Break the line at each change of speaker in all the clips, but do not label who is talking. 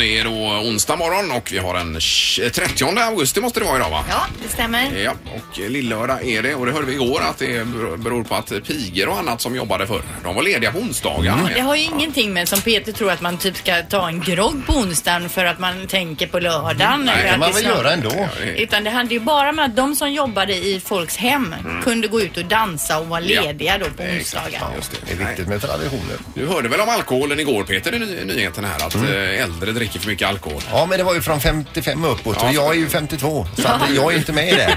Det är då onsdag morgon och vi har den 30 augusti måste det vara idag va?
Ja, det stämmer.
Ja, och lillördag är det och det hörde vi igår att det beror på att pigor och annat som jobbade förr, de var lediga på onsdagar.
Mm.
Det har ju ingenting med som Peter tror att man typ ska ta en grogg på onsdagen för att man tänker på lördagen.
Nej,
eller
kan
att
man
det
väl
snart-
göra ändå.
Utan det hade ju bara med att de som jobbade i folks hem kunde gå ut och dansa och vara
Mm. Ja.
lediga då på
Exakt,
onsdagar.
Just det.
Det är viktigt med traditioner.
Du hörde väl om alkoholen igår Peter i ny- nyheten här
Mm.
att eh, äldre dricker för mycket alkohol.
Ja, men det var ju från 55 uppåt och
Ja.
jag är ju 52 så att jag är inte med i det.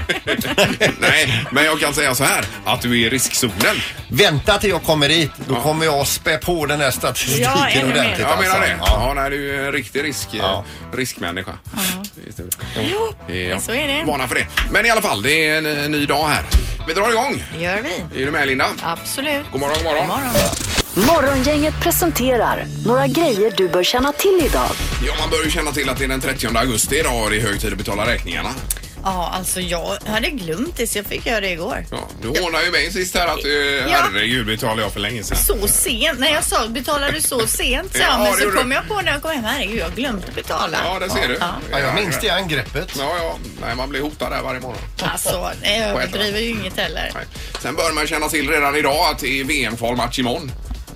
Nej, men jag kan säga så här att du är i riskzonen.
Vänta till jag kommer dit, då
Ja.
kommer jag spä på den här statistiken
Ja, ännu mer.
ordentligt. alltså.
Jag menar det.
Ja.
Ja, nej, du är en riktig risk,
Ja.
riskmänniska.
Jo,
Ja,
så är det.
Varna för det. Men i alla fall, det är en eh, ny dag här. Vi drar igång.
Det gör vi.
Är du med Linda?
Absolut.
God morgon, god morgon.
God morgon.
Morgongänget presenterar några grejer du bör känna till idag.
Ja, man bör ju känna till att det är den 30 augusti idag och det är hög tid att betala räkningarna.
Ja, alltså jag hade glömt det så jag fick göra det igår.
Ja, du hånade ju mig sist här att du,
Ja.
herregud, betalade jag för länge sedan.
Så sent? Nej, jag sa betalar du så sent? Så,
Ja,
ja, men
det
så
gjorde
kom
du.
jag på när jag kom hem, herregud, jag har glömt att betala.
Ja, det ser du.
Ja.
Ja, jag minns det angreppet.
Ja, ja. Nej, man blir hotad där varje morgon.
Alltså, nej, jag överdriver ju inget heller.
Nej. Sen bör man känna till redan idag att det är VM-kvalmatch imorgon.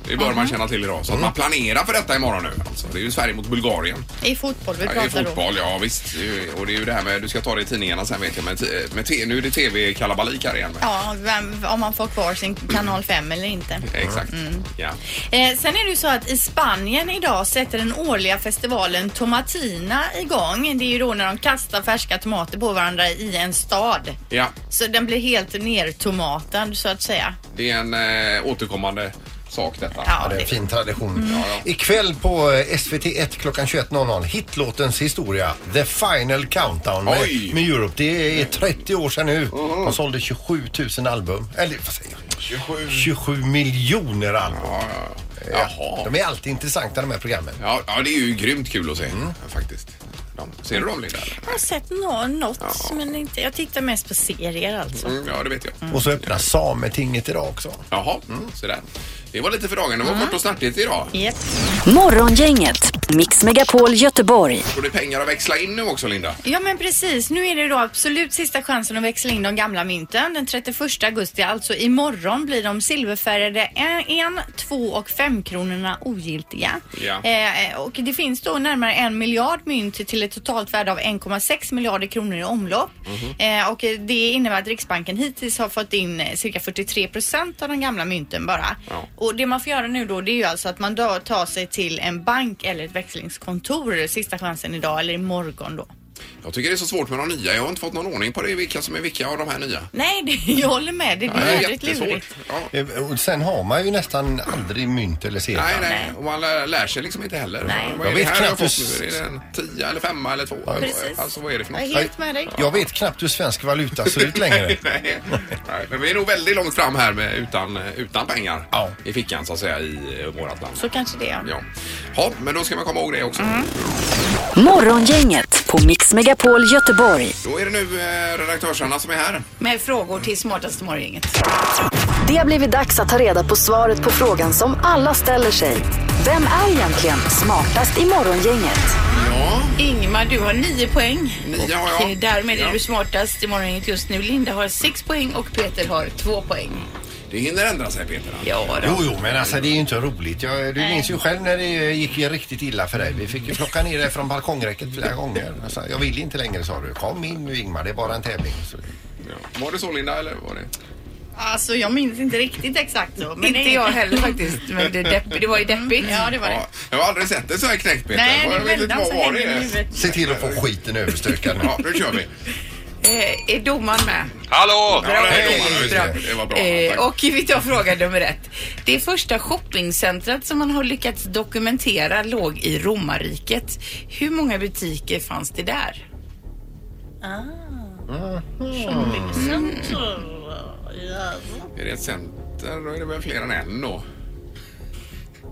Det bör man känna till idag. Så
Mm.
att man planerar för detta imorgon nu. Alltså, det är ju Sverige mot Bulgarien.
I fotboll vi
Ja, det är
pratar om.
fotboll, ja visst. Det är ju- Och det är ju det här med, du ska ta det i tidningarna sen vet jag, men t- eh, med t- nu är det tv-kalabalik här igen.
Ja, vem, om man får kvar sin kanal 5 eller inte.
Exakt. Ja.
Eh, sen är det ju så att i Spanien idag sätter den årliga festivalen Tomatina igång. Det är ju då när de kastar färska tomater på varandra i en stad.
ja,
Så den blir helt nertomatad så att säga.
det är en eh, återkommande sak detta.
Ja,
Ja, det är en
det,
fin tradition. Ikväll på eh, SVT1 klockan 21.00 hitlåtens historia The Final Countdown med,
Oj.
med Europe. Det är 30 år sedan nu. De sålde 27 000 album. Eller vad säger jag?
27.
27 miljoner album.
Ja, ja, ja. Jaha.
De är alltid intressanta de här programmen.
Ja, ja, det är ju grymt kul att se faktiskt. De, ser du dem Linda? eller?
jag har sett nå- något men inte, jag tittar mest på serier alltså.
Mm, ja, det vet jag.
Och så öppnar Sametinget idag också.
Jaha, så där. Det var lite för dagen. Det
Mm.
var kort och snärtigt idag.
Yep.
Morgongänget, Mix Megapol Göteborg.
Och det är pengar att växla in nu också Linda.
Ja men precis, nu är det då absolut sista chansen att växla in de gamla mynten. Den 31 augusti, alltså imorgon, blir de silverfärgade 1, 2 och 5 kronorna ogiltiga.
Ja.
Eh, och det finns då närmare en miljard mynt till ett totalt värde av 1,6 miljarder kronor i omlopp.
Mhm.
Eh, och eh, det innebär att Riksbanken hittills har fått in eh, cirka 43 procent av de gamla mynten bara.
Ja.
Och det man får göra nu då det är ju alltså att man då tar sig till en bank eller ett växlingskontor sista chansen idag eller imorgon då.
Jag tycker det är så svårt med de nya. Jag har inte fått någon ordning på det, vilka som är vilka av de här nya.
Nej, det, jag håller med. Det
Ja, det
blir
är
jävligt
jättesvårt.
lurigt.
Ja.
Eh, Och sen har man ju nästan aldrig mynt eller sedlar.
Nej, nej, och man lär, lär sig liksom inte heller.
Nej.
Vad är
Jag
det
vet
här jag har
knappt
fått nu? Är det en tia eller femma eller två?
Precis.
Alltså vad är det för
Jag är
något?
helt med dig.
Jag vet knappt hur svensk valuta ser ut längre.
Nej. Nej, men vi är nog väldigt långt fram här med, utan, utan pengar
Ja.
i fickan så att säga i eh, vårat land.
Så kanske det är.
Ja. ja, men då ska man komma ihåg det också.
Morgongänget på Mix Megapol Göteborg.
Då är det nu eh, redaktörsarna som är här.
Med frågor till smartaste morgongänget.
Det har blivit dags att ta reda på svaret på frågan som alla ställer sig. Vem är egentligen smartast i morgongänget?
Ja,
Ingmar, du har nio poäng.
Nio har
och
jag.
eh, därmed är
Ja.
du smartast i morgongänget just nu. Linda har sex poäng och Peter har två poäng.
det hinner ändra sig Peter.
Ja,
Jo, jo, men alltså det är ju inte roligt. Jag, du minns ju själv när det eh, gick ju riktigt illa för dig. Vi fick ju plocka ner dig från balkongräcket flera gånger. Alltså, jag vill inte längre sa du. Kom in nu Ingmar, det är bara en tävling. Så,
Ja. Var det så Linda eller var det?
Alltså, jag minns inte riktigt exakt så. Men
Inte
det-
jag heller faktiskt, men det, är depp, det var ju deppigt.
Ja, det var det.
Ja, jag har aldrig sett det så här knäckt Peter.
Nej,
jag
det
vet inte
vändan
vad
så
var
hänger det i
det?
huvudet.
se till att få skiten överstökad nu.
Ja, nu kör vi.
Eh, är domaren med?
Ja,
Hallå!
det,
hej,
är domaren, just det. det var bra.
Eh,
Tack.
och vi tar fråga nummer ett. Det första shoppingcentret som man har lyckats dokumentera låg i romarriket. Hur många butiker fanns det där?
Är det ett center? Då är det väl fler än en då.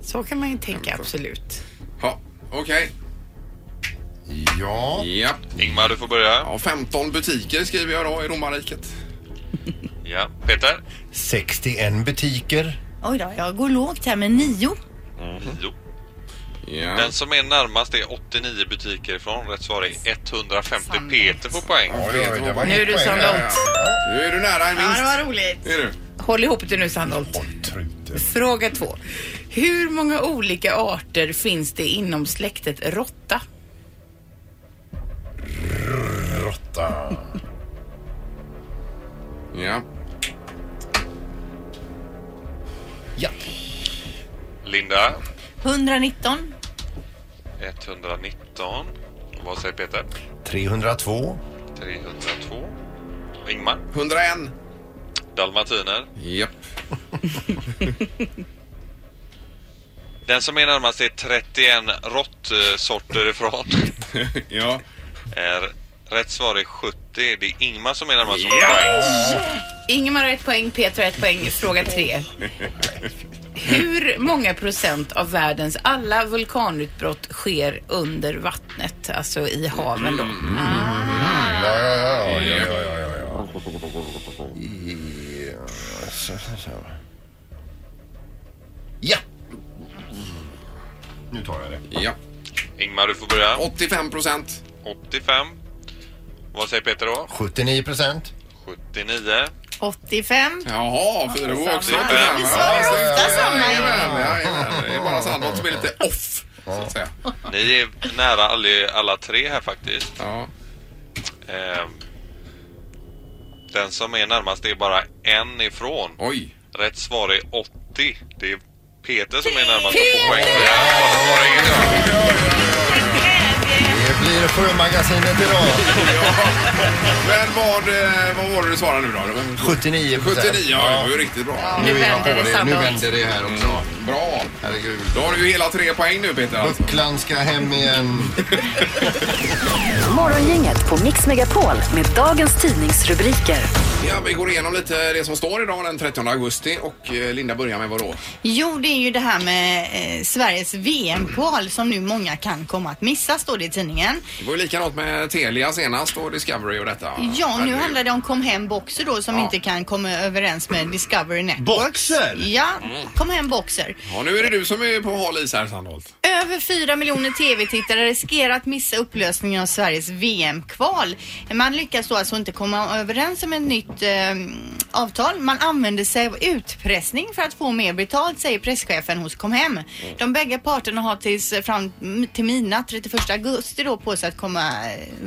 Så kan man ju tänka, absolut.
Ja, okej.
Ja,
Ja.
Ingmar, du får börja.
ja, 15 butiker skriver jag då i romarriket.
Ja. Peter?
61 butiker.
Oj då, jag går lågt här med nio.
Jo.
Mhm. Ja.
Den som är närmast är 89 butiker ifrån. Rätt svar är 150.
Sant.
Peter får poäng.
Oj, oj, oj, det var
Nu är
inget
du
poäng
som
där.
långt.
Nu är du nära en
Ja, det
vinst.
var roligt.
Är du?
Håll ihop det nu Sandholt.
Håll truten.
Fråga två. Hur många olika arter finns det inom släktet råtta?
Råtta.
Ja.
Ja.
Linda,
119.
119. Vad säger Peter?
302.
302. Ingmar,
101.
dalmatiner.
Japp.
Den som är närmast är 31 råttsorter ifrån.
ja.
Är rätt svar är 70. Det är Ingmar som är närmast som poäng.
Ingemar har ett poäng, Peter har ett poäng. Fråga tre. Hur många procent av världens alla vulkanutbrott sker under vattnet? Alltså i haven då.
Mm.
Ja, ja, ja, ja, ja, ja, ja, ja. Ja, så, så, så. Ja. Nu tar jag det.
Ja.
Ingmar, du får börja.
85 procent.
85. Vad säger Peter då?
79 procent.
79.
85.
Jaha, för det var också
Samma.
85.
Vi
Ja,
svarar ofta samma.
jajamän, jajamän. Det är bara Sandholt som är lite off, så att säga.
Ni är nära alla, alla tre här faktiskt.
Ja.
Ehm, den som är närmast är bara en ifrån.
Oj.
Rätt svar är 80. Det är Peter som är närmast och får poäng. för det här. Vad var det igen?
Det blir Sjömagasinet idag.
Men vad, eh, vad var det du svarade nu då? Det var
79 procent.
79, ja, det var ju riktigt bra.
Nu
Nu är jag på
vänder det
det. Nu
Sandholt.
vänder det här också.
Bra.
Herregud.
Då har du ju hela tre poäng nu Peter. Alltså.
Bucklan ska hem igen.
Morgongänget på Mix Megapol med dagens tidningsrubriker.
Ja, vi går igenom lite det som står idag den 30 augusti och eh, Linda börjar med vad då?
Jo, det är ju det här med eh, Sveriges VM-kval som nu många kan komma att missa, står det i tidningen.
Det var ju likadant med Telia senast och Discovery och detta.
Ja, nu
Herregud.
handlar det om Kom Hem Boxer då som
Ja.
inte kan komma överens med Discovery Networks.
Boxer?
Ja, Kom Hem Boxer.
Ja, nu är det du som är på hal is här Sandholt.
Över 4 miljoner TV-tittare riskerar att missa upplösningen av Sveriges VM-kval. Man lyckas då alltså inte komma överens om ett nytt eh, avtal. Man använder sig av utpressning för att få mer betalt, säger presschefen hos Comhem. De bägge parterna har tills fram till midnatt, 31 augusti då, på sig att komma,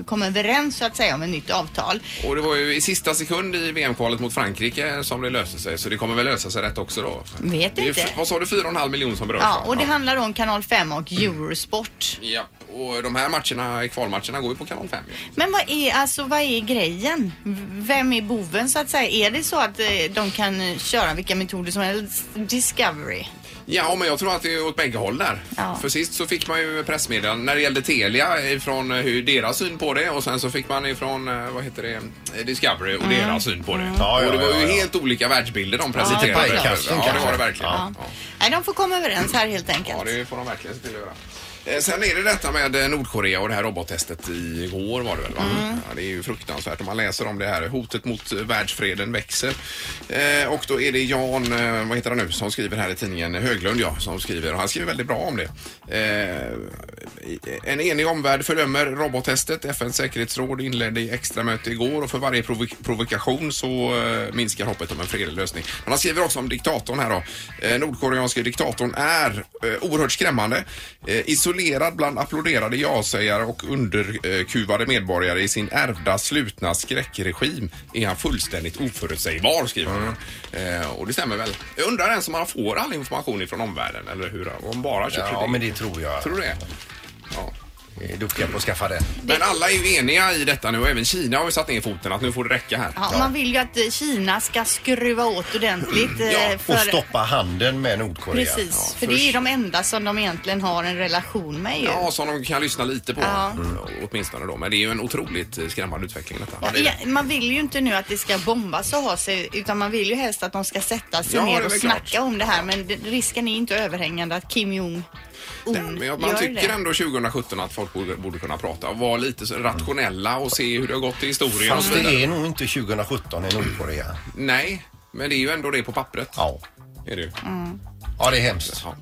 komma överens så att säga om ett nytt avtal.
Och det var ju i sista sekund i VM-kvalet mot Frankrike som det löste sig så det kommer väl lösa sig rätt också då.
Vet
Det är ju
inte.
f- Vad sa du, 4,5 miljoner som berörs?
Ja,
va?
och det handlar om Kanal 5 och
Mm.
Eurosport.
Ja, och de här matcherna, kvalmatcherna, går ju på kanal 5. ju.
Men vad är, alltså, vad är grejen? V- Vem är boven så att säga? Är det så att eh, de kan eh, köra vilka metoder som helst? Discovery.
Ja, men jag tror att det är åt bägge håll där.
Ja.
För sist så fick man ju pressmeddelanden när det gällde Telia ifrån eh, hur deras syn på det och sen så fick man ifrån, eh, vad heter det, eh, Discovery och deras syn på det.
Ja, ja,
och det var ju
ja, ja.
helt olika världsbilder de
det var
presenterade.
det.
ja, det var det verkligen.
Ja.
Ja.
Nej, de får komma överens här helt enkelt.
Ja, det får de verkligen se till att göra. Eh, Sen är det detta med eh, Nordkorea och det här robottestet igår var det väl? Va? Ja, det är ju fruktansvärt. Om man läser om det här. Hotet mot eh, världsfreden växer. Eh, och då är det Jan, eh, vad heter han nu, som skriver här i tidningen Höglund, ja, som skriver. Och han skriver väldigt bra om det. Eh, en enig omvärld fördömer robottestet. FNs säkerhetsråd inledde extramöte igår och för varje provok provokation så eh, minskar hoppet om en fredlig lösning. Men han skriver också om diktatorn här då. Eh, Nordkoreanske diktatorn är eh, oerhört skrämmande. Eh, isolerad bland applåderade ja-sägare och underkuvade medborgare i sin ärvda slutna skräckregim är han fullständigt oförutsägbar skriver han. Eh, och det stämmer väl. Jag undrar ens om han får all information ifrån omvärlden eller hur, om han bara köper
Ja, men det tror jag.
Tror du det? Ja.
Vi är duktiga på att skaffa den.
Men alla är ju eniga i detta nu och även Kina har ju satt ner foten att nu får det räcka här.
Ja, Man vill ju att eh, Kina ska skruva åt ordentligt. eh,
Ja, och
för...
Och stoppa handeln med Nordkorea.
Precis,
Ja,
för det är ju de enda som de egentligen har en relation med ju.
Ja, som de kan lyssna lite på
Ja.
Mm, åtminstone då. Men det är ju en otroligt eh, skrämmande utveckling detta.
Ja, ja, man vill ju inte nu att det ska bombas och ha sig utan man vill ju helst att de ska sätta sig
Ja, det är
ner och
väl
snacka
klart.
om det här men det- risken är inte överhängande att Kim Jong-Un
Nej, men jag- man
gör
tycker
det.
ändå 2017 att folk borde, borde kunna prata och vara lite så rationella och se hur det har gått i historien och
Fast
så
det
vidare.
är nog inte 2017 i Nordkorea.
Nej, men det är ju ändå det på pappret.
Ja.
Mm.
Är det ju.
Ja, det är hemskt.
Ja.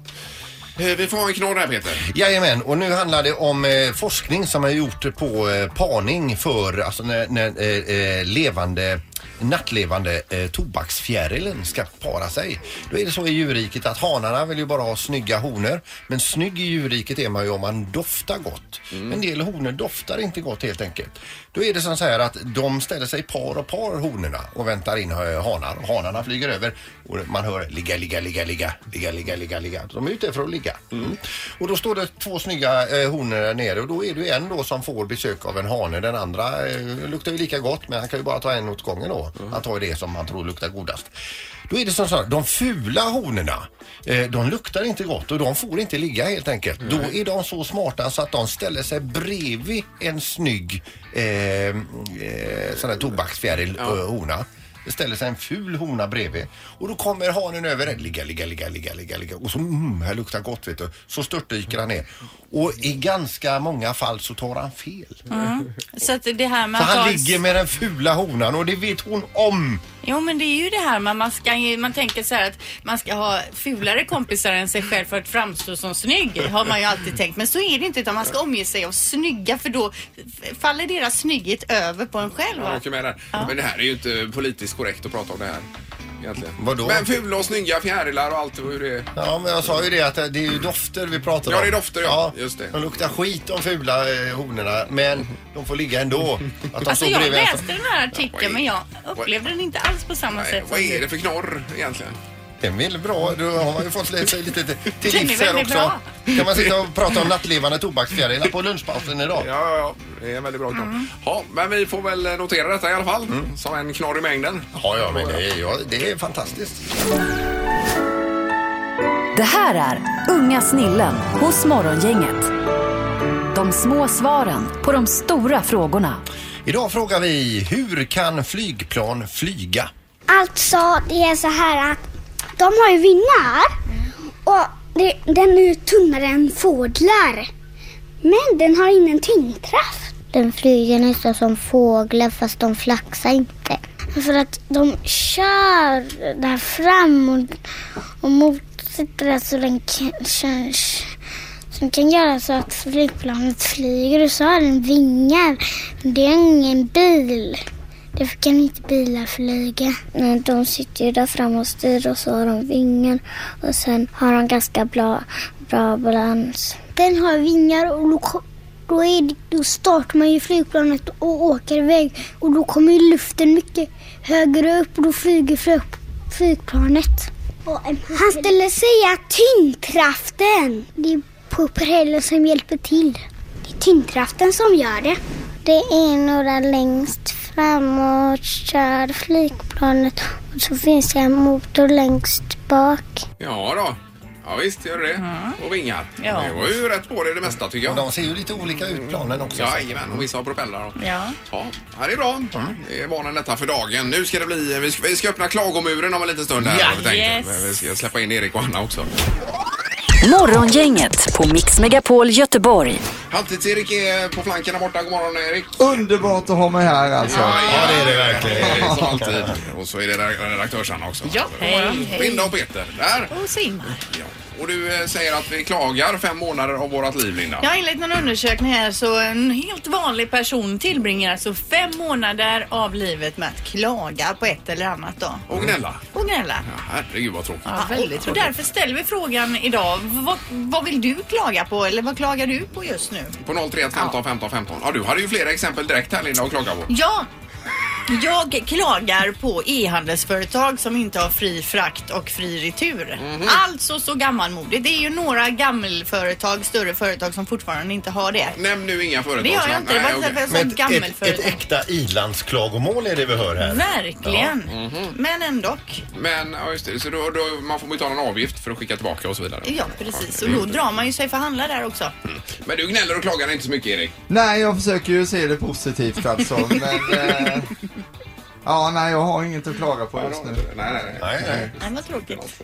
Eh, Vi får ha en knorr här Peter.
Jajamän, och nu handlar det om eh, forskning som har gjort på eh, parning för alltså när, när eh, eh, levande nattlevande eh, tobaksfjärilen ska para sig. Då är det så i djurriket att hanarna vill ju bara ha snygga honor men snygg i djurriket är man ju om man doftar gott. En del honor doftar inte gott helt enkelt. Då är det som så här att de ställer sig par och par honorna och väntar in eh, hanar. Hanarna flyger över och man hör ligga, ligga, ligga, ligga, ligga, ligga, ligga, ligga. De är ute för att ligga. Mm. Och då står det två snygga eh, honor där nere och då är det ju en då som får besök av en hane. Den andra eh, luktar ju lika gott men han kan ju bara ta en åt gången då. Han tar ju det som han tror luktar godast. Då är det som så här, de fula honorna, eh, de luktar inte gott och de får inte ligga helt enkelt. Då är de så smarta så att de ställer sig bredvid en snygg eh, eh, sån här tobaksfjäril eh, hona. Det ställer sig en ful hona bredvid och då kommer hanen över den. Ligga, ligga, ligga, ligga, ligga, ligga. Och så mm, här luktar gott vet du. Så störtdyker han ner. Och i ganska många fall så tar han fel.
Så att det här med
För
att ha
han
en-
ligger med den fula honan och det vet hon om.
Jo men det är ju det här man, man, ska, ju- man tänker så här att man ska ha fulare kompisar än sig själv för att framstå som snygg. Har man ju alltid tänkt. Men så är det inte utan man ska omge sig av snygga för då f- faller deras snygghet över på en själv.
Jag
va?
åker med där. Men det här är ju inte politiskt korrekt att prata om det här. Egentligen.
Vadå?
Men fula och snygga fjärilar och allt och hur det är.
Ja, men jag sa ju det att det är ju dofter vi pratar om.
Ja, det är dofter, ja. Just det.
De luktar skit de fula eh, honorna, men de får ligga ändå. Att de
Alltså
står
jag
bredvid en sån-
läste den här artikeln men jag upplevde den inte alls på samma
Nej,
sätt.
vad
som
är
du.
det för knorr egentligen?
Den är väl bra. Då har man ju fått lära sig lite till- till
Den är
livs här
väldigt
också.
bra.
Kan man sitta och prata om nattlevande tobaksfjärilar på lunchpausen idag?
Ja, ja, ja, det är en väldigt bra knorr.
Mm.
Ja, men vi får väl notera detta i alla fall. Som en knorr i mängden.
Ja, ja, men det är, ja, det är fantastiskt.
Det här är Unga snillen hos Morgongänget. De små svaren på de stora frågorna.
Idag frågar vi, hur kan flygplan flyga?
Alltså, det är så här att de har ju vingar och det, den är ju tunnare än fåglar. Men den har ingen tyngdkraft.
Den flyger nästan som fåglar fast de flaxar inte. För att de kör där fram och, och motsätter den så den kan, kör, som kan göra så att flygplanet flyger och så har den vingar. Det är ingen bil. Därför kan inte bilar flyga. Nej, de sitter ju där fram och styr och så har de vingar och sen har de ganska bra, bra balans. Den har vingar och då, är det, då startar man ju flygplanet och åker iväg och då kommer ju luften mycket högre upp och då flyger flyg- flygplanet.
Han skulle säga tyngdkraften.
Det är på propellern som hjälper till.
Det är tyngdkraften som gör det.
Det är några längst fram och kör flygplanet och så finns det en motor längst bak.
Ja då. Ja visst gör det Och vingar.
Ja.
Det var ju rätt på det, det mesta tycker
Och
jag.
de ser ju lite olika ut planen också.
Jajamän, och vissa har propellrar. och-
Ja.
Ja, ja, det är bra.
Mm.
Det är barnen detta för dagen. Nu ska det bli, vi ska, vi ska öppna klagomuren om en liten stund. Här, har vi tänkt.
yes.
Men Vi ska släppa in Erik och Anna också.
Morgongänget på Mix Megapol Göteborg.
Halvtids-Erik är på flanken där borta. God morgon Erik.
Underbart att ha mig här alltså.
ja,
det är det verkligen.
det är Som alltid. Och så är det där- redaktörs-Anna också.
Ja, hej, hej.
Linda och Peter, där.
Och Sigmar.
Ja. Och du eh, säger att vi klagar fem månader av vårat liv, Linda.
Ja, enligt någon undersökning här så en helt vanlig person tillbringar alltså fem månader av livet med att klaga på ett eller annat då.
Och gnälla.
Och gnälla.
Ja, herregud vad tråkigt.
Ja, väldigt
och
tråkigt.
därför ställer vi frågan idag. Vad, vad vill du klaga på eller vad klagar du på just nu?
På 031 15 15 15. Ja, du hade ju flera exempel direkt här Linda att klaga på.
Ja, jag klagar på e-handelsföretag som inte har fri frakt och fri retur. Alltså så gammalmodigt. Det är ju några gammelföretag, större företag som fortfarande inte har det.
Nämn nu inga företag.
Det gör
som-
jag inte. Det var
Nej,
inte
okej.
därför jag sa
Men ett, ett, ett
gammelföretag.
äkta ilandsklagomål är det vi hör här.
Verkligen. Men ändå.
Men ja, just det, så då, då, man får betala en avgift för att skicka tillbaka och så vidare.
Ja, precis. Och då drar man ju sig för att handla där också.
Men du gnäller och klagar inte så mycket Erik.
Nej, jag försöker ju se det positivt alltså, men... Eh, ja, nej, jag har inget att klaga på just nu.
Nej, nej, nej.
Nej, nej.
Nej, vad tråkigt.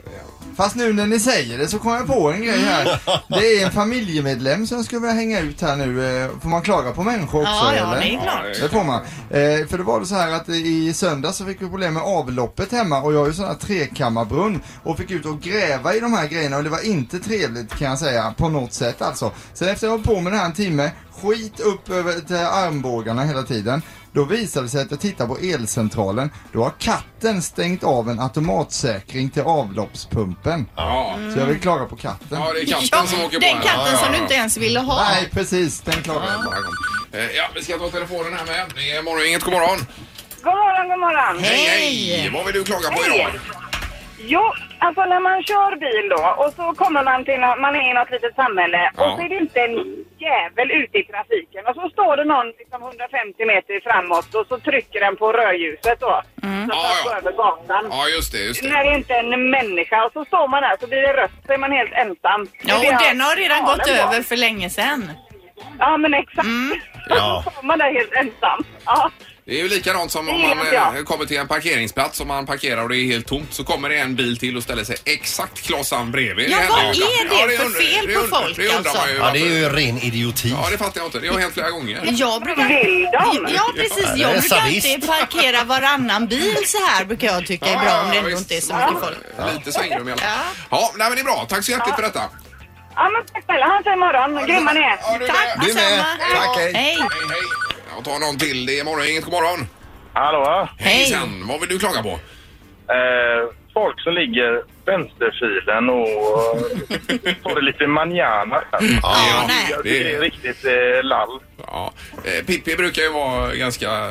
Fast nu när ni säger det så kom jag på en grej här. Det är en familjemedlem som jag skulle vilja hänga ut här nu. Eh, Får man klaga på människor också
Ja, ja,
eller?
det är klart.
Det får man. Eh, för det var det så här att i söndag så fick vi problem med avloppet hemma och jag har ju sån här trekammarbrunn och fick ut och gräva i de här grejerna och det var inte trevligt kan jag säga på något sätt alltså. Sen efter jag var på med det här en timme, skit upp över till armbågarna hela tiden. Då visade det sig att jag tittade på elcentralen. Då har katten stängt av en automatsäkring till avloppspumpen.
Ja,
Så jag vill klaga på katten.
ja det är katten
Ja,
som åker på
den
här.
katten
ja,
som
ja,
du
ja.
inte ens ville ha.
Nej, precis. Den klagar jag på.
Eh, Ja, vi ska ta telefonen här med. Det är morgongänget, god morgon.
God morgon, god morgon.
Hej, hej! Vad vill du klaga på idag?
Jo, alltså när man kör bil då och så kommer man till nå- man är i något litet samhälle och
Ja.
så är det inte en jävel ute i trafiken och så står det någon liksom 150 meter framåt och så trycker den på rödljuset då. Så att
Mm. Ja,
man
ja.
går över gatan.
Ja, just det, just
När
det.
det inte är en människa och så står man där så blir det rött så är man helt ensam.
Ja,
Det är
och
det
den har redan
jag
gått
talar om.
över för länge sedan. Mm.
Ja, men exakt.
Ja.
så står man där helt ensam. Ja.
Det är ju likadant som om
Det är
man
bra.
eh, kommer till en parkeringsplats och man parkerar och det är helt tomt så kommer det en bil till och ställer sig exakt klossan bredvid.
Ja,
Det
vad
händer ju
är
ibland.
det för
undrar-
fel
det
på
undrar-
folk,
Det undrar
alltså?
man ju.
Ja, det är
varför-
ju ren idioti.
Ja, det fattar jag inte. Det har hänt flera gånger.
Jag brukar...
Vill de?
Ja precis,
Ja, det är
jag brukar
sadist.
alltid parkera varannan bil så här brukar jag tycka är bra om det ändå
visst.
inte är så mycket folk.
Lite svängrum i alla fall. Ja, nej, men det är bra. Tack så hjärtligt för detta.
Ja, men tack snälla. Ha en fin morgon. Grymma ni är.
Ja, du är
Tack
med.
Du med.
detsamma!
Tack, hej.
Hej!
Hej, hej. Jag tar någon till. Det är morgon. Inget god morgon.
Hallå?
Hej!
Sen, vad vill du klaga på?
Eh, folk som ligger vänsterfilen och får lite manjana.
Ja, nej.
Jag
det är-
tycker det är riktigt eh, lall.
Ja. Eh, Pippi brukar ju vara ganska...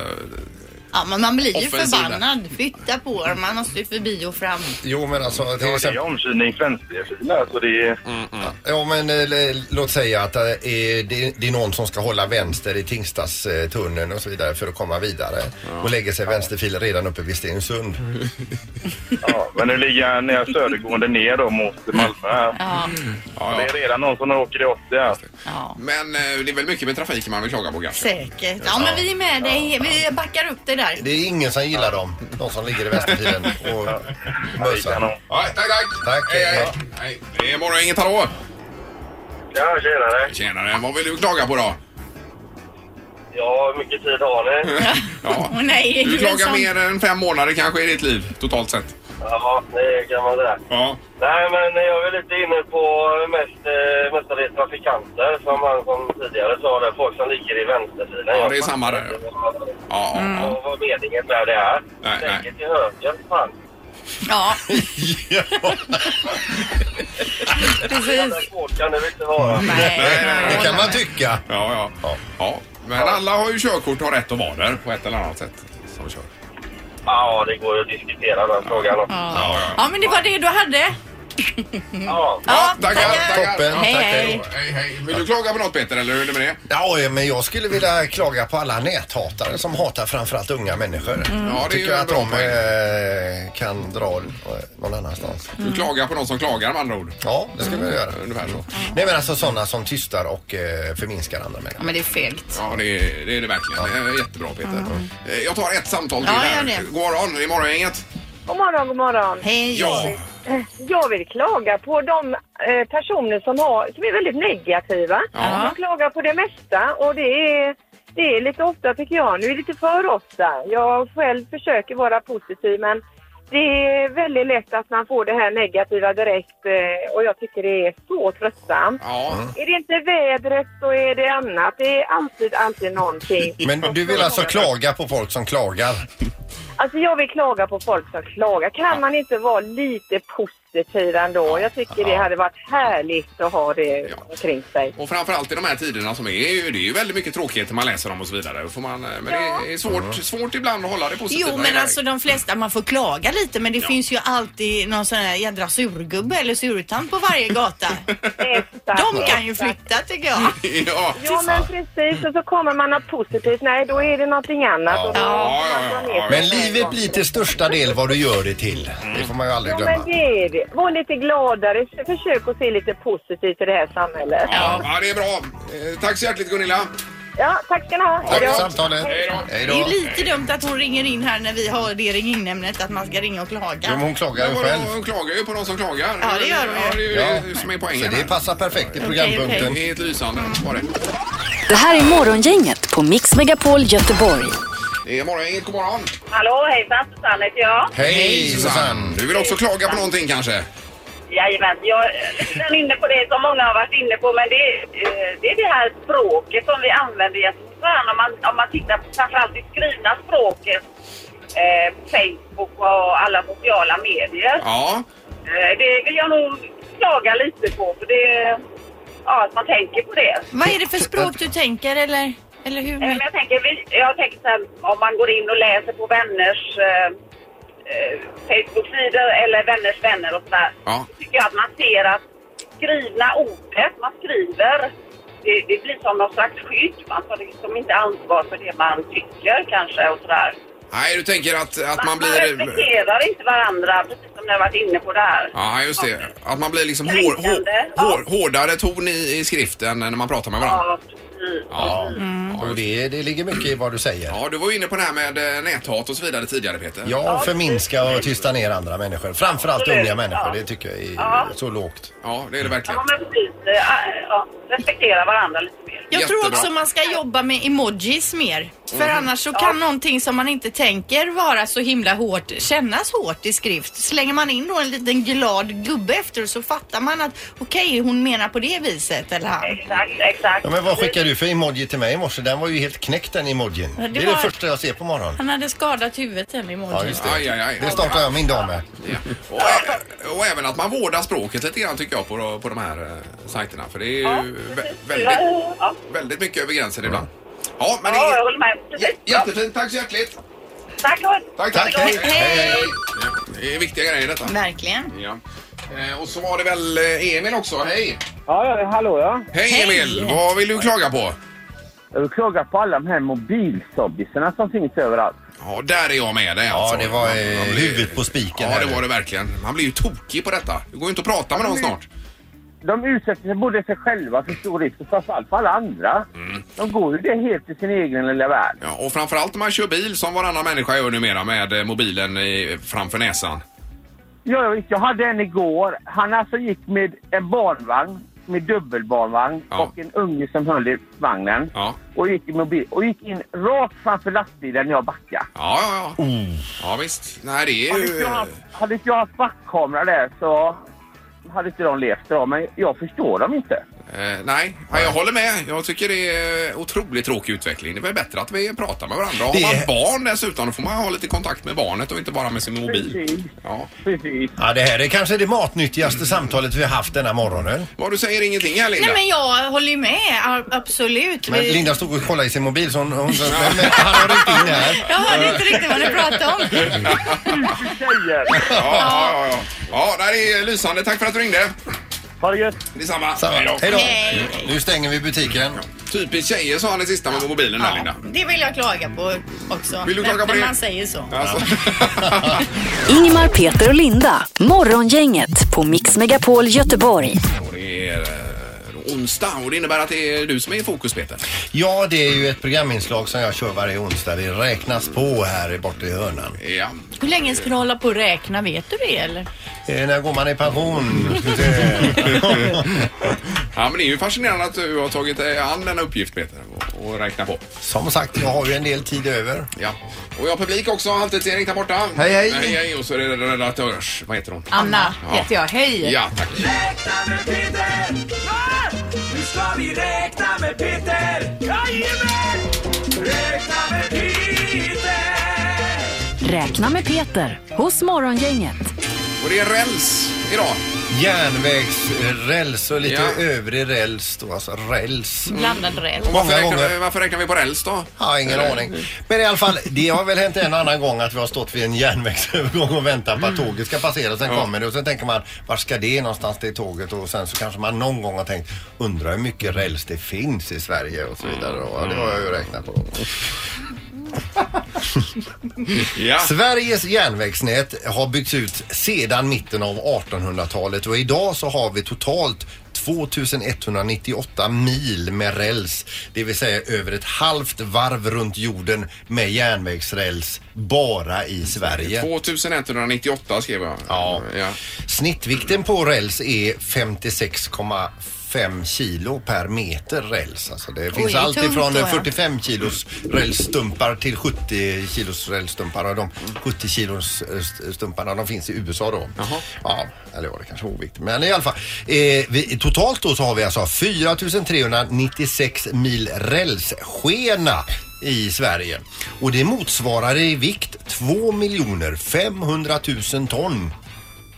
Ja, men man blir ju
Offensiv där.
förbannad. Flytta på er, man måste ju förbi och fram.
Jo, men alltså till
Det är
exempel.
omkylning vänsterfilen. Alltså det är...
Ja, men eh, l- låt säga att eh, är det, det är någon som ska hålla vänster i Tingstadstunneln och så vidare för att komma vidare och lägger sig vänsterfilen redan uppe vid Stensund.
Ja, men nu ligger jag ner södergående ner då mot Malmö här.
Ja,
Mm. Ja,
Det
ja.
är redan någon som åker i 80 här.
ja.
Men eh, det är väl mycket med trafiken man vill klaga på kanske?
Säkert. Ja, men vi är med dig. Vi backar upp det där.
Det är ingen som gillar dem, de som ligger i vänsterfilen och
Det kan nog.
mössar.
Ja, tack, tack!
Tack,
hej, hej.
hej.
Hej. Det är morgon. Inget hallå!
Ja, tjenare.
Tjenare. Vad vill du klaga på då?
Ja, hur mycket tid har
Mm.
ni?
Ja.
Åh, nej,
Du
det är
klagar
sånt.
mer än fem månader kanske i ditt liv totalt sett.
Ja, det kan man säga.
Ja.
Nej, men jag är väl lite inne på mest, eh, mestadels trafikanter som han som tidigare sa där, folk som ligger i vänsterfilen.
Ja,
Jag
det är samma
fattar
där,
inte vad-
Ja, ja,
Mm.
ja.
Vad vad meningen med det är.
Nej,
Lägg
nej.
er till höger, fan.
Ja,
Den
precis.
där kåkan, det vill inte vara.
Mm. Nej, nej,
Det
nej.
kan man tycka.
Ja, ja. ja. Men alla har ju körkort och har rätt att vara där på ett eller annat sätt. Som kör.
Ja, det går ju att diskutera den frågan också.
Mm.
Ja, ja.
Ja, men det var det du hade.
Ja.
Ja,
tackar.
Toppen.
Ja,
Hej,
Tack,
hej.
Hej, hej. Vill du klaga på något Peter eller hur är det med det?
Ja, men jag skulle vilja klaga på alla näthatare som hatar framförallt unga människor.
Mm. Ja, det är ju
Tycker
en
att
bra
de
poäng.
eh, kan dra eh, någon annanstans.
Du
Mm.
klagar på någon som klagar med andra ord.
Ja, det skulle jag göra.
Ungefär så.
Nej men alltså sådana som tystar och eh, förminskar andra människor.
Ja, men det är fegt.
Ja, det är det, är det verkligen. Det är jättebra Peter. Eh, Jag tar ett samtal till
Ja,
här.
gör det.
God morgon, det är morgongänget.
God morgon, god morgon.
Hej.
Ja.
Jag vill klaga på de eh, personer som, har, som är väldigt negativa.
Ja.
De klagar på det mesta och det är, det är lite ofta tycker jag. Nu är det lite för ofta. Jag själv försöker vara positiv men det är väldigt lätt att man får det här negativa direkt eh, och jag tycker det är så tröttsamt.
Ja.
Är det inte vädret så är det annat. Det är alltid, alltid någonting.
Men du vill alltså klaga på folk som klagar?
Alltså jag vill klaga på folk som klagar. Kan man inte vara lite positiv ändå? Jag tycker det hade varit härligt att ha det
Ja.
omkring sig.
Och framförallt i de här tiderna som är, det är ju- det är ju väldigt mycket tråkigheter man läser om och så vidare. Då Får man, eh, men det är svårt, svårt ibland att hålla det positiva.
Jo,
hela
men
vägen.
alltså de flesta, man får klaga lite men det finns ju alltid någon sån här jädra surgubbe eller surtant på varje gata. De kan ju flytta tycker jag.
ja.
Ja men precis och så kommer man något positivt. Nej då är det någonting annat.
Ja.
Och då
Ja, ja,
får man dra
ja, ja.
ner
Men
sig.
livet blir till största del vad du gör det till. Det får man ju aldrig
Ja men
glömma.
det är det. Var lite gladare. Försök att se lite positivt i det här samhället.
Ja, det är bra. Eh, Tack så hjärtligt Gunilla.
Ja, tack ska ni ha.
Tack
Ja.
för samtalet. Hej
Det är ju lite dumt att hon ringer in här när vi har det ringin-ämnet att man ska ringa och klaga.
Ja, men hon klagar ju
vadå,
själv.
Hon klagar ju på de som klagar.
Ja, det gör hon ju.
Ja, det är ju det som är
Så
poängen.
det
här.
passar perfekt i
Det
programpunkten.
är helt lysande. Var det.
Det här är Morgongänget på Mix Megapol Göteborg.
Det är morgon, Inget, god morgon.
Hallå, hejsan, Susanne heter jag.
Hej Susanne!
Du vill också klaga på någonting kanske?
Jajamän, jag är lite inne på det som många har varit inne på, men det, är, eh, det är det här språket som vi använder i Afghanistan. Om man, om man tittar på framförallt det skrivna språket, eh, Facebook och alla sociala medier.
Ja.
Eh, det vill jag nog klaga lite på, för det, ja, att man tänker på det.
Vad är det för språk du tänker eller, eller hur?
Eh, Men jag tänker, vi- jag tänker så här, om man går in och läser på vänners eh, eh, Facebook-sidor eller vänners vänner och sådär.
Ja.
Tycker jag att man ser att skrivna ordet man skriver, det, det blir som någon slags skydd. Man tar liksom inte ansvar för det man tycker kanske och sådär.
Mm.
Nej, du tänker att, att man
man
blir...
respekterar inte varandra, precis som ni har varit inne på där.
Ja, just det. Att man blir liksom hår, hår,
Kränkande. Ja.
hår, hårdare ton i, i skriften när man pratar med varandra.
Ja, precis.
Ja.
Och det, det ligger mycket i vad du säger.
Ja, du var ju inne på det här med eh, näthat och så vidare tidigare Peter.
Ja, förminska och tysta ner andra människor. Framförallt
Absolut,
unga människor.
ja.
Det tycker jag är
Ja.
så lågt.
Ja, det är det verkligen.
Ja, men precis. Eh, Ja, respektera varandra lite mer.
Jag tror
jättebra. Mhm.
också man ska jobba med emojis mer. För annars så kan någonting som man inte tänker vara så himla hårt kännas hårt i skrift. Slänger man in då en liten glad gubbe efter så fattar man att okej, hon menar på det viset eller han.
Exakt, exakt.
Ja, men vad skickade du för emoji till mig i morse? Den var ju helt knäckt den emojin. Det
det
är det
var-
första jag ser på morgonen.
Han hade skadat huvudet den
Ja,
emojin.
just
Aj, aj, aj.
det. Det startar jag min dag med.
Ja. Och, ä- och även att man vårdar språket lite grann tycker jag på, på de här eh, sajterna. För det är ju vä- väldigt,
Ja,
väldigt mycket över gränsen ibland. Ja, men det
ja, jag
är
håller med.
jä-
Precis.
jättefint. Tack så hjärtligt.
Tack,
Tack,
Tack! Hej! hej.
Ja, det är viktiga grejer detta.
Verkligen.
Ja. Eh, Och så var det väl eh, Emil också. Hej!
Ja, ja, hallå ja.
Hej, Emil! Vad vill du klaga på?
Jag vill klaga på alla de här mobilzombisarna som finns överallt.
Ja, där är jag med dig alltså.
Ja, det var eh,
Man blir-
huvudet på spiken.
Ja,
här.
det var det verkligen. Man blir ju tokig på detta. Det går ju inte att prata med någon snart.
De utsätter sig både sig själva för stor risk och framförallt för alla andra. De går ju det helt i sin egen lilla värld.
Ja, och framförallt om man kör bil som varannan människa gör numera med eh, mobilen i, framför näsan.
Ja, visst, jag hade en igår. Han alltså gick med en barnvagn, med dubbelbarnvagn
Ja.
och en unge som höll i vagnen.
Ja.
Och gick, i mobil, och gick in rakt framför lastbilen när jag backade.
Ja, ja, ja.
Oh.
Ja, visst. Nej, det är
Hade inte
ju...
jag haft- Hade inte jag haft backkamera där så hade inte de levt bra. Men jag förstår dem inte.
Eh, nej, ja, jag håller med. Jag tycker det är otroligt tråkig utveckling. Det är väl bättre att vi pratar med varandra. Har
Det
man
är-
barn dessutom, då får man ha lite kontakt med barnet och inte bara med sin mobil.
Precis.
Ja.
Precis.
Ja, det här är kanske det matnyttigaste samtalet vi har haft denna morgonen.
Vad du säger ingenting här, Linda?
Nej men jag håller ju med, a- absolut.
Men
Vi-
Linda stod och kollade i sin mobil så hon... hon men, men, han har ringt in här.
Jag hörde inte riktigt vad ni pratade om.
Tjejer!
Ja, ja, ja, ja. ja, nej, det är lysande. Tack för att du ringde.
Ha det gött!
Detsamma.
Så,
Hej då.
Hej då!
Hej.
Nu stänger vi butiken.
Typiskt tjejer sa han det sista med mobilen där, Linda.
Det vill jag klaga på också.
Vill du klaga
när,
på
när
det?
man säger så.
Alltså.
Ingmar, Peter och Linda. Morgongänget på Mix Megapol Göteborg.
Och det är eh, onsdag och det innebär att det är du som är i fokus Peter.
Ja, det är ju ett programinslag som jag kör varje onsdag. Det räknas på här borta i hörnan.
Ja.
Hur länge ska du hålla på och räkna? Vet du det eller?
Eh, när går man i pension? Eh,
ja, men det är ju fascinerande att du har tagit dig an denna uppgift Peter och, och räkna på.
Som sagt, jag har ju en del tid över.
Ja. Och jag har publik också, Halvtids-Erik där borta.
Hej, hej.
hej, hej. Och så är det redaktörs... Vad heter hon?
Anna
Ja.
heter jag. Hej!
Ja, tack.
Räkna med Peter hos Morgongänget.
Och det är räls idag.
Järnvägsräls och lite
Ja.
övrig räls då, alltså räls.
Blandad rätt.
Och varför,
Många
räknar,
gånger.
vi- varför räknar vi på räls då?
Ja, ingen aning. Men i alla fall, det har väl hänt en och annan gång att vi har stått vid en järnvägsövergång och väntat på att tåget ska passera. Sen
Mm. Ja.
kommer det och sen tänker man, var ska det någonstans det tåget? Och sen så kanske man någon gång har tänkt, undrar hur mycket räls det finns i Sverige och så vidare. Och ja, det har jag ju räknat på.
Ja.
Sveriges järnvägsnät har byggts ut sedan mitten av 1800-talet och idag så har vi totalt 2198 mil med räls. Det vill säga över ett halvt varv runt jorden med järnvägsräls bara i Sverige.
2198 skrev jag.
Ja.
ja.
Snittvikten på räls är 56,5 kilo per meter räls. Alltså det finns
det är
allt
tungt
ifrån
då, ja.
45 kilos rälsstumpar till 70 kilos rälsstumpar. Och de 70 kilos eh, st- stumparna de finns i USA då.
Jaha.
Ja, eller var det kanske oviktigt. Men i alla fall. Eh, vi, totalt då så har vi alltså 4396 mil rälsskena i Sverige. Och det motsvarar i vikt 2 miljoner 500 000 ton.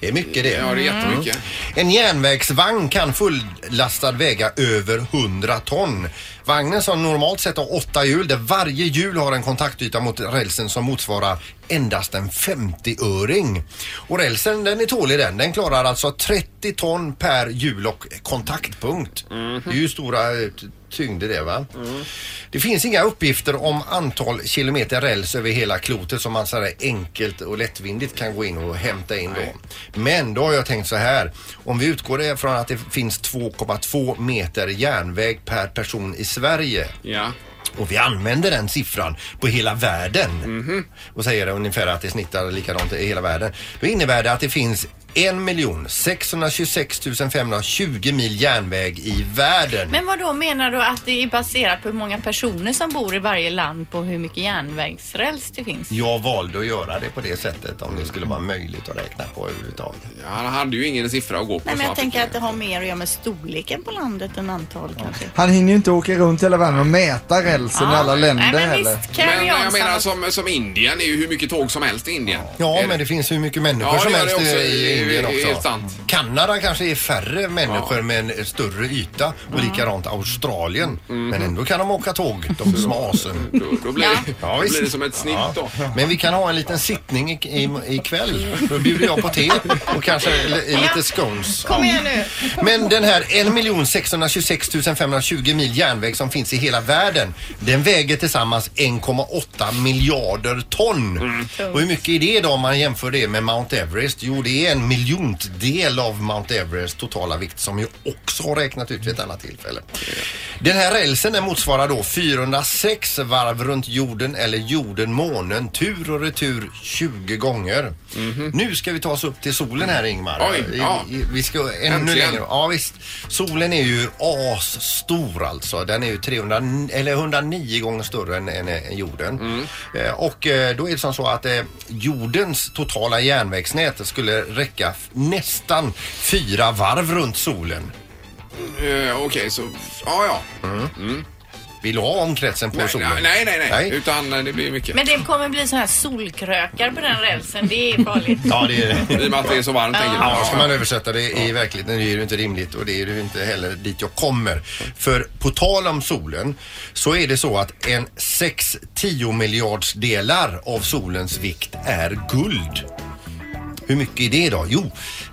Det är mycket det.
Ja, det är jättemycket.
En järnvägsvagn kan fullastad väga över 100 ton. Vagnen som normalt sett har åtta hjul där varje hjul har en kontaktyta mot rälsen som motsvarar endast en 50-öring. Och rälsen den är tålig den. Den klarar alltså 30 ton per hjul och kontaktpunkt. Det är ju stora eh, t- tyngder det va? Det finns inga uppgifter om antal kilometer räls över hela klotet som man så här enkelt och lättvindigt kan gå in och hämta in då. Men då har jag tänkt så här. Om vi utgår från att det finns 2,2 meter järnväg per person i Sverige
Ja.
och vi använder den siffran på hela världen och säger ungefär att det snittar likadant i hela världen. Då innebär det att det finns 1 626 520 mil järnväg i världen.
Men vad då menar du att det är baserat på hur många personer som bor i varje land på hur mycket järnvägsräls det finns?
Jag valde att göra det på det sättet om det skulle vara möjligt att räkna på överhuvudtaget.
Han hade ju ingen siffra att gå på.
Nej,
så
men jag
han
tänker
fick-
att det har mer att göra med storleken på landet än antal kanske.
Han hinner ju inte åka runt hela världen och mäta rälsen i alla länder
Nej, men
heller.
visst,
Men
carry on.
jag
samma-
menar som, som Indien, är ju hur mycket tåg som helst i Indien.
Ja,
Är det-
men det finns hur mycket människor
Ja,
som
det gör
helst eh,
det också.
i
Det är-
Indien
det är
också.
helt sant.
Kanada kanske är färre människor med en större yta och likadant Australien. Men ändå kan de åka tåg, de som är asen.
Då, då, blir,
Ja,
då
visst.
blir det som ett snitt
Ja.
då.
Men vi kan ha en liten sittning i- i- ikväll. Då bjuder jag på te och kanske li- lite scones.
Kom igen nu.
Men den här 1 626 520 mil järnväg som finns i hela världen, den väger tillsammans 1,8 miljarder ton.
Mm.
Och hur mycket är det då om man jämför det med Mount Everest? Jo, det är en miljontdel av Mount Everest totala vikt som ju också har räknat ut vid ett annat tillfälle. Den här rälsen den motsvarar då 406 varv runt jorden eller jorden månen tur och retur 20 gånger. Nu ska vi ta oss upp till solen här Ingmar.
Mhm. Oj,
I-
ja.
i- vi ska ännu
Äntligen.
längre. Ja visst. Solen är ju asstor alltså. Den är ju 300, eller 109 gånger större än, än, eh, jorden.
Mm.
Eh, och eh, då är det som så att eh, jordens totala järnvägsnät skulle räcka f- nästan fyra varv runt solen.
Eh, Okej, så... Ja, ja.
Vill du ha omkretsen på
Nej,
solen?
nej, nej, nej, Utan eh, det blir mycket.
Men det kommer bli sådana här solkrökar på den rälsen. Det är farligt.
Ja, det är det.
I och med att det är så varmt, tänker
Ja, ska man
jag.
översätta det i verkligheten det är det ju inte rimligt och det är det ju inte heller dit jag kommer. För på tal om solen så är det så att en 6-10 miljardsdelar av solens vikt är guld. Hur mycket är det då? Jo,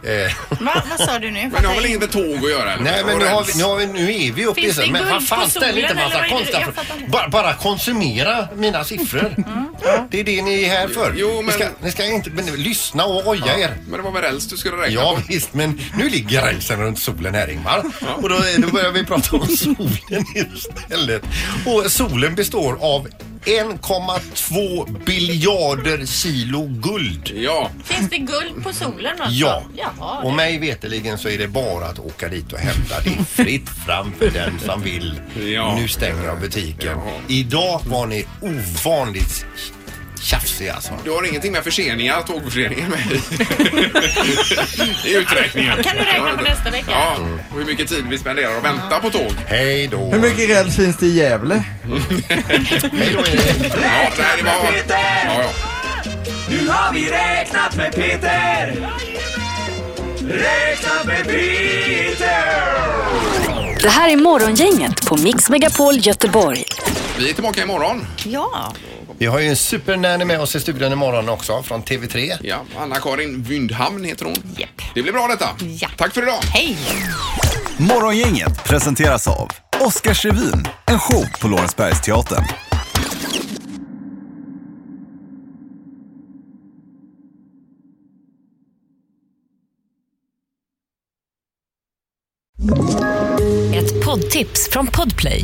eh,
Va? Vad sa du nu?
Men det har väl inget med tåg att göra? Eller?
nej men
Och
nu, har vi,
räls.
nu, har vi, nu är vi uppe i
Finns det
sen. Men
guld
vad fan
på
ställ inte
solen, eller
massa
vad är det?
konstiga
Jag
frågor.
fattar inte. Mm.
Bara, bara konsumera mina siffror. Ja, Det är det ni är här för.
Jo,
ni,
men-
ska, ni ska inte men, lyssna och oja er.
Men det var väl räls du skulle räkna
Ja
på?
visst, men nu ligger rälsen runt solen här Ingmar. Och då, då börjar vi prata om solen istället. Och solen består av 1,2 biljarder kilo guld.
Ja.
Finns det guld på solen alltså?
Ja,
Jaha.
och mig veteligen så är det bara att åka dit och hämta. Det är fritt fram för den som vill.
Ja.
Nu stänger jag butiken.
Ja.
Idag var ni ovanligt tjafsiga alltså.
Du har ingenting med förseningar, tågförseningar med i- i uträkningen?
Kan du räkna på nästa vecka?
Ja, och hur mycket tid vi spenderar att vänta på tåg.
Hej då!
Hur mycket räls finns det i Gävle?
Hej då Erik.
Ja, nej, det var... Ja, ja.
Nu har vi räknat med Peter! Räknat med Peter!
Det här är Morgongänget på Mix Megapol Göteborg.
Vi är tillbaka imorgon.
Ja.
Vi har ju en supernanny med oss i studion imorgon också från TV3.
Ja, Anna-Karin Wyndhamn heter hon.
Japp.
Det blir bra detta.
Ja.
Tack för idag.
Hej!
Morgongänget presenteras av Oscarsrevyn, en show på Lorensbergsteatern.
poddtips från Podplay.